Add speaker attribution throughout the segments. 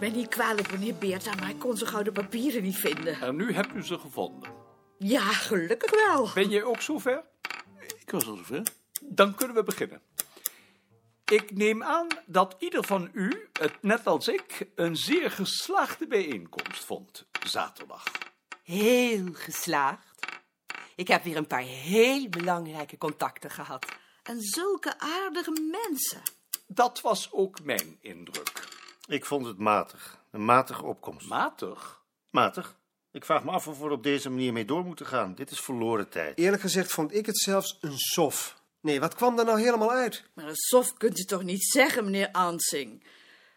Speaker 1: me niet kwalijk, meneer Beerta, maar ik kon zo gauw de papieren niet vinden.
Speaker 2: En nu hebt u ze gevonden.
Speaker 1: Ja, gelukkig wel.
Speaker 2: Ben jij ook zover?
Speaker 3: Ik was al zover.
Speaker 2: Dan kunnen we beginnen. Ik neem aan dat ieder van u het, net als ik, een zeer geslaagde bijeenkomst vond zaterdag.
Speaker 4: Heel geslaagd. Ik heb weer een paar heel belangrijke contacten gehad.
Speaker 1: En zulke aardige mensen.
Speaker 2: Dat was ook mijn indruk.
Speaker 3: Ik vond het matig. Een matige opkomst.
Speaker 2: Matig?
Speaker 3: matig? Ik vraag me af of we er op deze manier mee door moeten gaan. Dit is verloren tijd.
Speaker 5: Eerlijk gezegd vond ik het zelfs een sof. Nee, wat kwam daar nou helemaal uit?
Speaker 1: Maar een sof kunt u toch niet zeggen, meneer Ansing?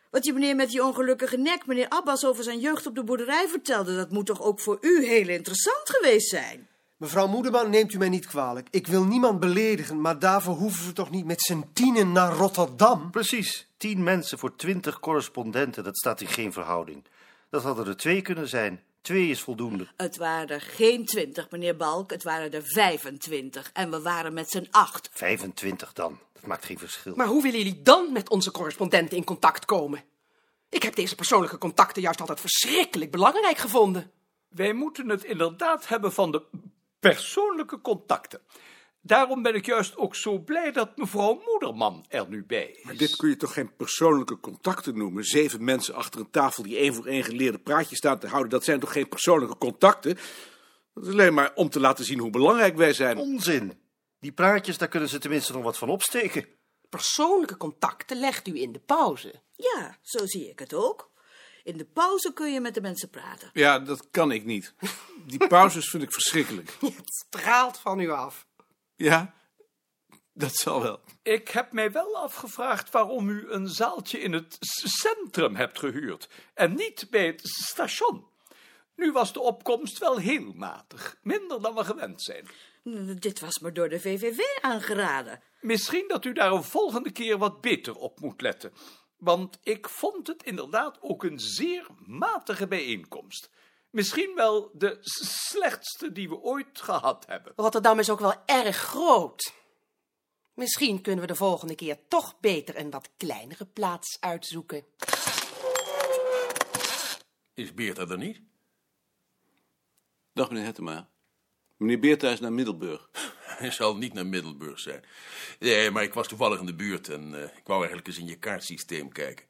Speaker 1: Wat die meneer met die ongelukkige nek, meneer Abbas, over zijn jeugd op de boerderij vertelde, dat moet toch ook voor u heel interessant geweest zijn?
Speaker 5: Mevrouw Moederman, neemt u mij niet kwalijk. Ik wil niemand beledigen, maar daarvoor hoeven we toch niet met z'n tienen naar Rotterdam?
Speaker 3: Precies. Tien mensen voor twintig correspondenten. Dat staat in geen verhouding. Dat hadden er twee kunnen zijn. Twee is voldoende.
Speaker 1: Het waren er geen twintig, meneer Balk, het waren er 25 en we waren met z'n acht.
Speaker 3: 25 dan. Dat maakt geen verschil.
Speaker 4: Maar hoe willen jullie dan met onze correspondenten in contact komen? Ik heb deze persoonlijke contacten juist altijd verschrikkelijk belangrijk gevonden.
Speaker 2: Wij moeten het inderdaad hebben van de persoonlijke contacten. Daarom ben ik juist ook zo blij dat mevrouw Moederman er nu bij is.
Speaker 6: Dit kun je toch geen persoonlijke contacten noemen? Zeven mensen achter een tafel die één voor één geleerde praatjes staan te houden, dat zijn toch geen persoonlijke contacten? Dat is alleen maar om te laten zien hoe belangrijk wij zijn.
Speaker 3: Onzin. Die praatjes, daar kunnen ze tenminste nog wat van opsteken.
Speaker 4: Persoonlijke contacten legt u in de pauze.
Speaker 1: Ja, zo zie ik het ook. In de pauze kun je met de mensen praten.
Speaker 6: Ja, dat kan ik niet. Die pauzes vind ik verschrikkelijk.
Speaker 4: Het straalt van u af.
Speaker 6: Ja, dat zal wel.
Speaker 2: Ik heb mij wel afgevraagd waarom u een zaaltje in het s- centrum hebt gehuurd en niet bij het station. Nu was de opkomst wel heel matig, minder dan we gewend zijn.
Speaker 1: Hm, Dit was me door de VVV aangeraden.
Speaker 2: Misschien dat u daar een volgende keer wat beter op moet letten. Want ik vond het inderdaad ook een zeer matige bijeenkomst. Misschien wel de s- slechtste die we ooit gehad hebben.
Speaker 4: Rotterdam is ook wel erg groot. Misschien kunnen we de volgende keer toch beter een wat kleinere plaats uitzoeken.
Speaker 7: Is Beerta er niet? Dag meneer Hettema.
Speaker 6: Meneer Beerta is naar Middelburg.
Speaker 7: Hij zal niet naar Middelburg zijn. Nee, maar ik was toevallig in de buurt en eh, ik wou eigenlijk eens in je kaartsysteem kijken.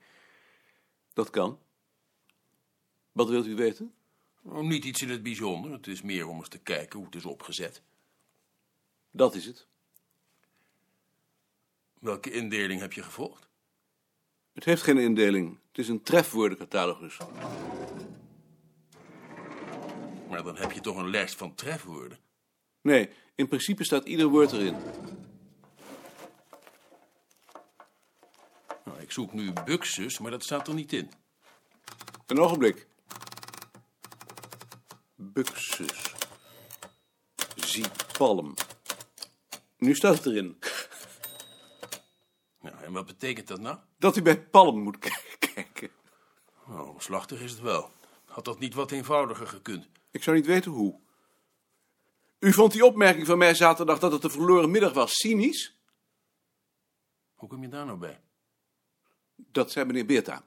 Speaker 8: Dat kan. Wat wilt u weten?
Speaker 7: Oh, Niet iets in het bijzonder, het is meer om eens te kijken hoe het is opgezet.
Speaker 8: Dat is het.
Speaker 7: Welke indeling heb je gevolgd?
Speaker 8: Het heeft geen indeling. Het is een trefwoordencatalogus.
Speaker 7: Maar Nou, dan heb je toch een lijst van trefwoorden.
Speaker 8: Nee, in principe staat ieder woord erin.
Speaker 7: Nou, ik zoek nu buxus, maar dat staat er niet in.
Speaker 8: Een ogenblik. Buxus. Zie palm. Nu staat het erin.
Speaker 7: Nou, en wat betekent dat nou?
Speaker 8: Dat u bij palm moet k- kijken.
Speaker 7: Nou, omslachtig is het wel. Had dat niet wat eenvoudiger gekund?
Speaker 8: Ik zou niet weten hoe. U vond die opmerking van mij zaterdag dat het een verloren middag was cynisch?
Speaker 7: Hoe kom je daar nou bij?
Speaker 8: Dat zei meneer Beerta.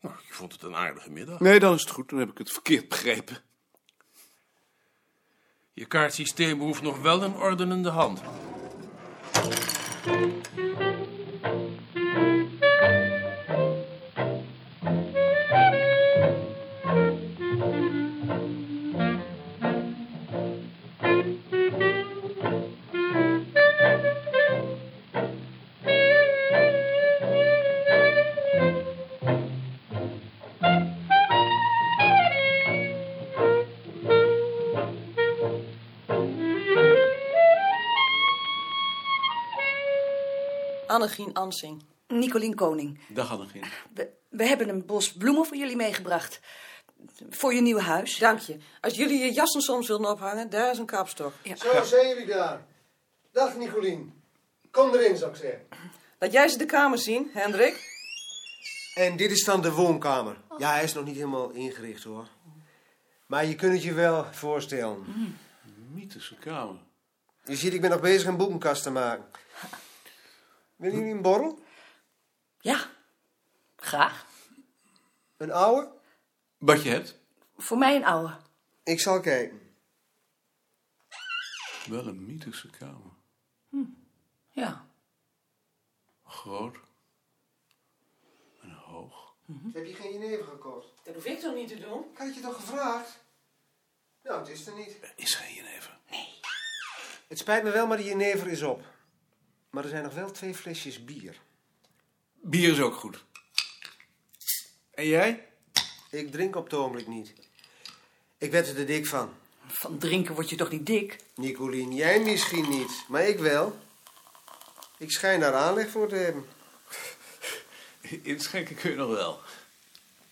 Speaker 7: Nou, je vond het een aardige middag.
Speaker 8: Nee, dan is het goed. Dan heb ik het verkeerd begrepen.
Speaker 7: Je kaartsysteem behoeft nog wel een ordenende hand.
Speaker 9: Annegien Ansing.
Speaker 10: Nicolien Koning,
Speaker 8: Dag, Annegien.
Speaker 10: we, we hebben een bos bloemen voor jullie meegebracht. Voor je nieuwe huis.
Speaker 9: Dank je. Als jullie je jassen soms willen ophangen, daar is een kapstok.
Speaker 5: Zo zijn jullie daar. Dag Nicolien. Kom erin, zou ik zeggen.
Speaker 9: Laat jij ze de kamer zien, Hendrik.
Speaker 5: En dit is dan de woonkamer. Ja, hij is nog niet helemaal ingericht hoor. Maar je kunt het je wel voorstellen.
Speaker 8: Mythische kamer.
Speaker 5: Je ziet, ik ben nog bezig een boekenkast te maken. Willen jullie een borrel?
Speaker 10: Ja, graag.
Speaker 5: Een oude?
Speaker 7: Wat je hebt?
Speaker 1: Voor mij een oude.
Speaker 5: Ik zal kijken.
Speaker 7: Wel een mythische kamer.
Speaker 1: Ja.
Speaker 7: Groot.
Speaker 5: Heb je geen jenever gekocht?
Speaker 4: Dat hoef ik toch niet te doen?
Speaker 5: Ik had je toch gevraagd? Nou, het is er niet.
Speaker 7: Is geen jenever.
Speaker 5: Het spijt me wel, maar de jenever is op. Maar er zijn nog wel twee flesjes bier.
Speaker 7: Bier is ook goed. En jij?
Speaker 5: Ik drink op het ogenblik niet. Ik werd er de dik van.
Speaker 1: Van drinken word je toch niet dik?
Speaker 5: Nicolien, jij misschien niet, maar ik wel. Ik schijn daar aanleg voor te hebben.
Speaker 7: Inschenken kun je nog wel.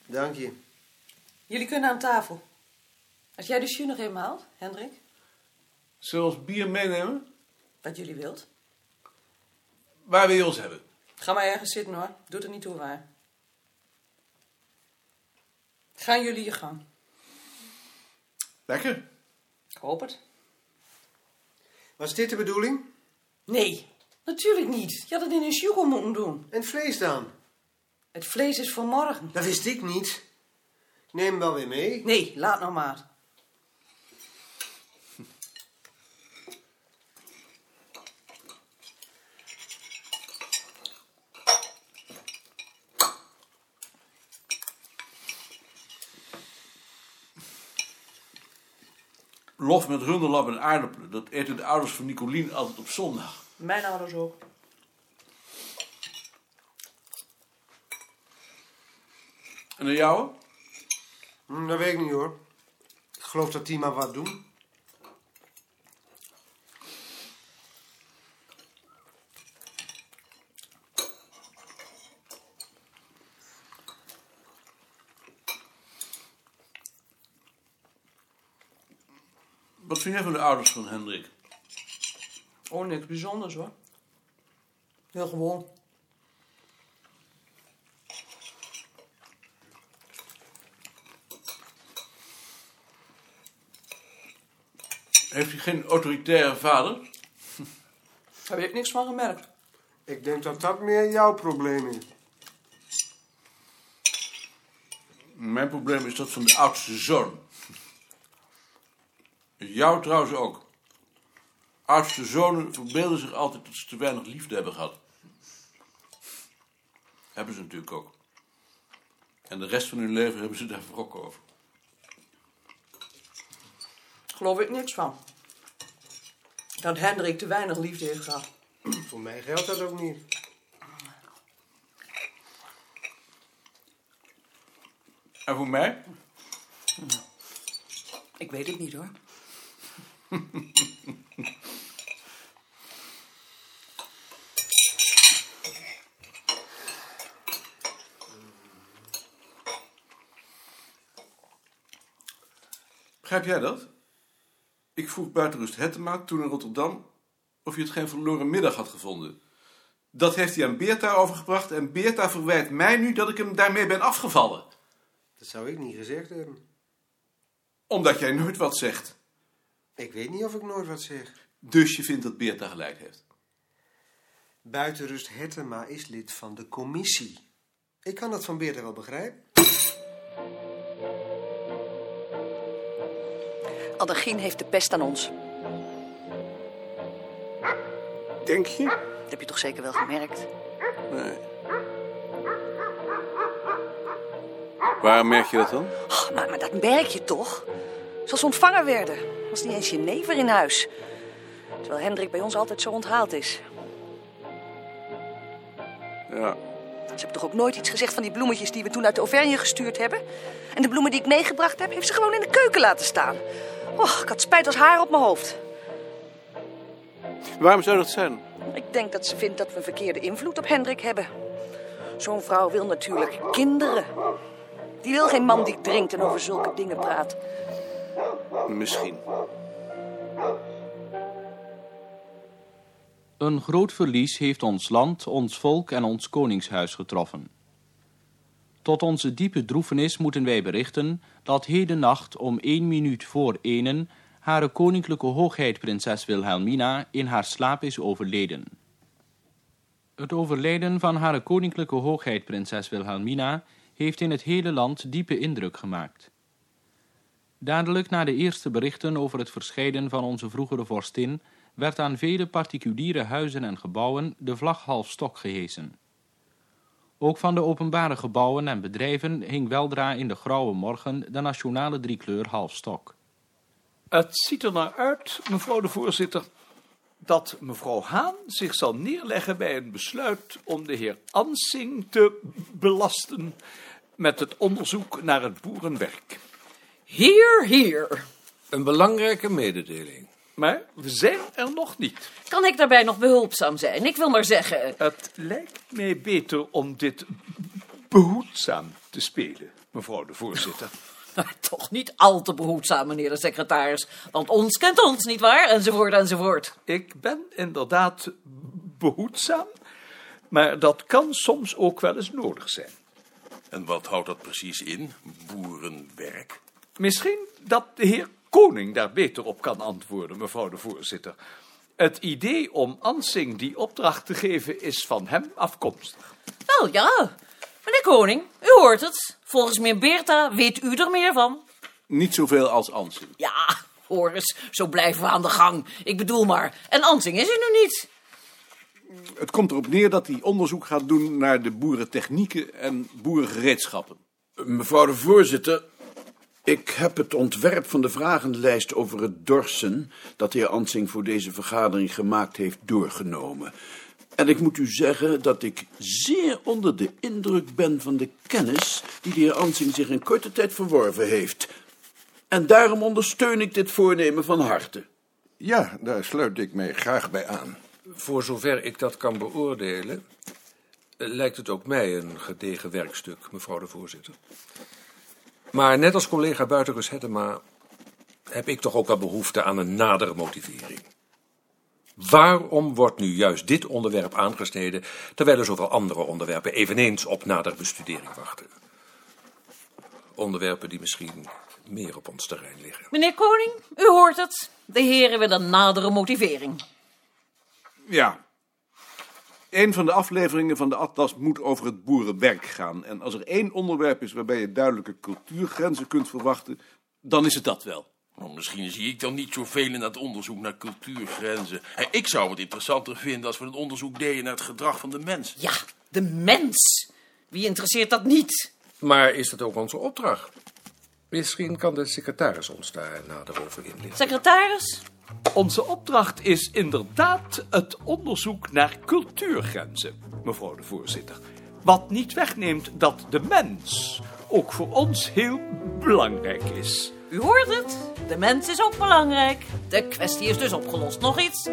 Speaker 5: Dank je.
Speaker 4: Jullie kunnen aan tafel. Als jij de jus nog eenmaal haalt, Hendrik,
Speaker 7: Zullen we ons bier meenemen?
Speaker 4: wat jullie wilt.
Speaker 7: Waar wil je ons hebben?
Speaker 4: Ga maar ergens zitten hoor. Doet er niet toe waar. Gaan jullie je gang.
Speaker 7: Lekker.
Speaker 4: Ik hoop het.
Speaker 5: Was dit de bedoeling?
Speaker 4: Nee, natuurlijk niet. Je had het in een sjoegel moeten doen.
Speaker 5: En het vlees dan?
Speaker 4: Het vlees is voor morgen.
Speaker 5: Dat wist ik niet. Ik neem hem wel weer mee.
Speaker 4: Nee, laat nou maar.
Speaker 7: Lof met runderlap en aardappelen. Dat eten de ouders van Nicolien altijd op zondag.
Speaker 4: Mijn ouders ook.
Speaker 7: En de jouwe?
Speaker 5: Hm, dat weet ik niet hoor. Ik geloof dat die maar wat doen.
Speaker 7: Wat vind jij van de ouders van Hendrik?
Speaker 4: Oh, niks bijzonders hoor. Heel gewoon.
Speaker 7: Heeft hij geen autoritaire vader?
Speaker 4: Daar heb ik niks van gemerkt.
Speaker 5: Ik denk dat dat meer jouw probleem is.
Speaker 7: Mijn probleem is dat van de oudste zoon. Jou trouwens ook. Oudste zonen verbeelden zich altijd dat ze te weinig liefde hebben gehad. Hebben ze natuurlijk ook. En de rest van hun leven hebben ze daar wrok over.
Speaker 4: Geloof ik niks van. Dat Hendrik te weinig liefde heeft gehad.
Speaker 5: Voor mij geldt dat ook niet.
Speaker 7: En voor mij?
Speaker 1: Ik weet het niet hoor.
Speaker 7: Begrijp jij dat? Ik vroeg buitenrust Hettema toen in Rotterdam of je het geen verloren middag had gevonden. Dat heeft hij aan Beerta overgebracht en Beerta verwijt mij nu dat ik hem daarmee ben afgevallen.
Speaker 5: Dat zou ik niet gezegd hebben.
Speaker 7: Omdat jij nooit wat zegt.
Speaker 5: Ik weet niet of ik nooit wat zeg.
Speaker 7: Dus je vindt dat Beerta gelijk heeft.
Speaker 5: Buitenrust Hettema is lid van de commissie. Ik kan dat van Beerta wel begrijpen.
Speaker 1: Addergien heeft de pest aan ons.
Speaker 11: Denk je?
Speaker 1: Dat heb je toch zeker wel gemerkt?
Speaker 11: Nee. Waar merk je dat dan?
Speaker 1: Ach, maar, maar dat merk je toch? Zoals we ontvangen werden. Er was niet eens jenever in huis. Terwijl Hendrik bij ons altijd zo onthaald is.
Speaker 11: Ja.
Speaker 1: Ze hebben toch ook nooit iets gezegd van die bloemetjes die we toen uit de Auvergne gestuurd hebben? En de bloemen die ik meegebracht heb, heeft ze gewoon in de keuken laten staan. Och, ik had spijt als haar op mijn hoofd.
Speaker 11: Waarom zou dat zijn?
Speaker 1: Ik denk dat ze vindt dat we een verkeerde invloed op Hendrik hebben. Zo'n vrouw wil natuurlijk kinderen. Die wil geen man die drinkt en over zulke dingen praat.
Speaker 11: Misschien.
Speaker 12: Een groot verlies heeft ons land, ons volk en ons koningshuis getroffen. Tot onze diepe droefenis moeten wij berichten dat hedennacht om één minuut voor enen Hare Koninklijke Hoogheid Prinses Wilhelmina in haar slaap is overleden. Het overlijden van Hare Koninklijke Hoogheid Prinses Wilhelmina heeft in het hele land diepe indruk gemaakt. Dadelijk na de eerste berichten over het verscheiden van onze vroegere vorstin werd aan vele particuliere huizen en gebouwen de vlag half stok gehesen. Ook van de openbare gebouwen en bedrijven hing weldra in de grauwe morgen de nationale driekleur halfstok.
Speaker 2: Het ziet er naar uit, mevrouw de voorzitter, dat mevrouw Haan zich zal neerleggen bij een besluit om de heer Ansing te belasten met het onderzoek naar het boerenwerk.
Speaker 4: Hier, hier.
Speaker 2: Een belangrijke mededeling. Maar we zijn er nog niet.
Speaker 4: Kan ik daarbij nog behulpzaam zijn? Ik wil maar zeggen.
Speaker 2: Het lijkt mij beter om dit behoedzaam te spelen, mevrouw de voorzitter.
Speaker 4: Maar toch niet al te behoedzaam, meneer de secretaris. Want ons kent ons, nietwaar? Enzovoort, enzovoort.
Speaker 2: Ik ben inderdaad behoedzaam, maar dat kan soms ook wel eens nodig zijn.
Speaker 13: En wat houdt dat precies in? Boerenwerk?
Speaker 2: Misschien dat de heer Koning daar beter op kan antwoorden, mevrouw de voorzitter. Het idee om Ansing die opdracht te geven is van hem afkomstig.
Speaker 4: Wel ja, meneer Koning, u hoort het. Volgens meneer Beerta weet u er meer van.
Speaker 14: Niet zoveel als Ansing.
Speaker 4: Ja, hoor eens, zo blijven we aan de gang. Ik bedoel maar, en Ansing is er nu niet.
Speaker 14: Het komt erop neer dat hij onderzoek gaat doen naar de boerentechnieken en boerengereedschappen.
Speaker 7: Mevrouw de voorzitter, ik heb het ontwerp van de vragenlijst over het dorsen dat de heer Ansing voor deze vergadering gemaakt heeft doorgenomen. En ik moet u zeggen dat ik zeer onder de indruk ben van de kennis die de heer Ansing zich in korte tijd verworven heeft. En daarom ondersteun ik dit voornemen van harte.
Speaker 15: Ja, daar sluit ik mij graag bij aan.
Speaker 5: Voor zover ik dat kan beoordelen, eh, lijkt het ook mij een gedegen werkstuk, mevrouw de voorzitter. Maar net als collega Buitenrus Hettema heb ik toch ook wel behoefte aan een nadere motivering. Waarom wordt nu juist dit onderwerp aangesneden, terwijl er zoveel andere onderwerpen eveneens op nader bestudering wachten? Onderwerpen die misschien meer op ons terrein liggen.
Speaker 4: Meneer Koning, u hoort het. De heren willen nadere motivering.
Speaker 14: Ja. Een van de afleveringen van de Atlas moet over het boerenwerk gaan. En als er één onderwerp is waarbij je duidelijke cultuurgrenzen kunt verwachten, dan is het dat wel.
Speaker 13: Nou, misschien zie ik dan niet zoveel in dat onderzoek naar cultuurgrenzen. Hé, ik zou het interessanter vinden als we een onderzoek deden naar het gedrag van de mens.
Speaker 4: Ja, de mens. Wie interesseert dat niet?
Speaker 5: Maar is dat ook onze opdracht? Misschien kan de secretaris ons daar nader over inlichten.
Speaker 4: Secretaris?
Speaker 2: Onze opdracht is inderdaad het onderzoek naar cultuurgrenzen, mevrouw de voorzitter. Wat niet wegneemt dat de mens ook voor ons heel belangrijk is.
Speaker 4: U hoort het. De mens is ook belangrijk. De kwestie is dus opgelost. Nog iets?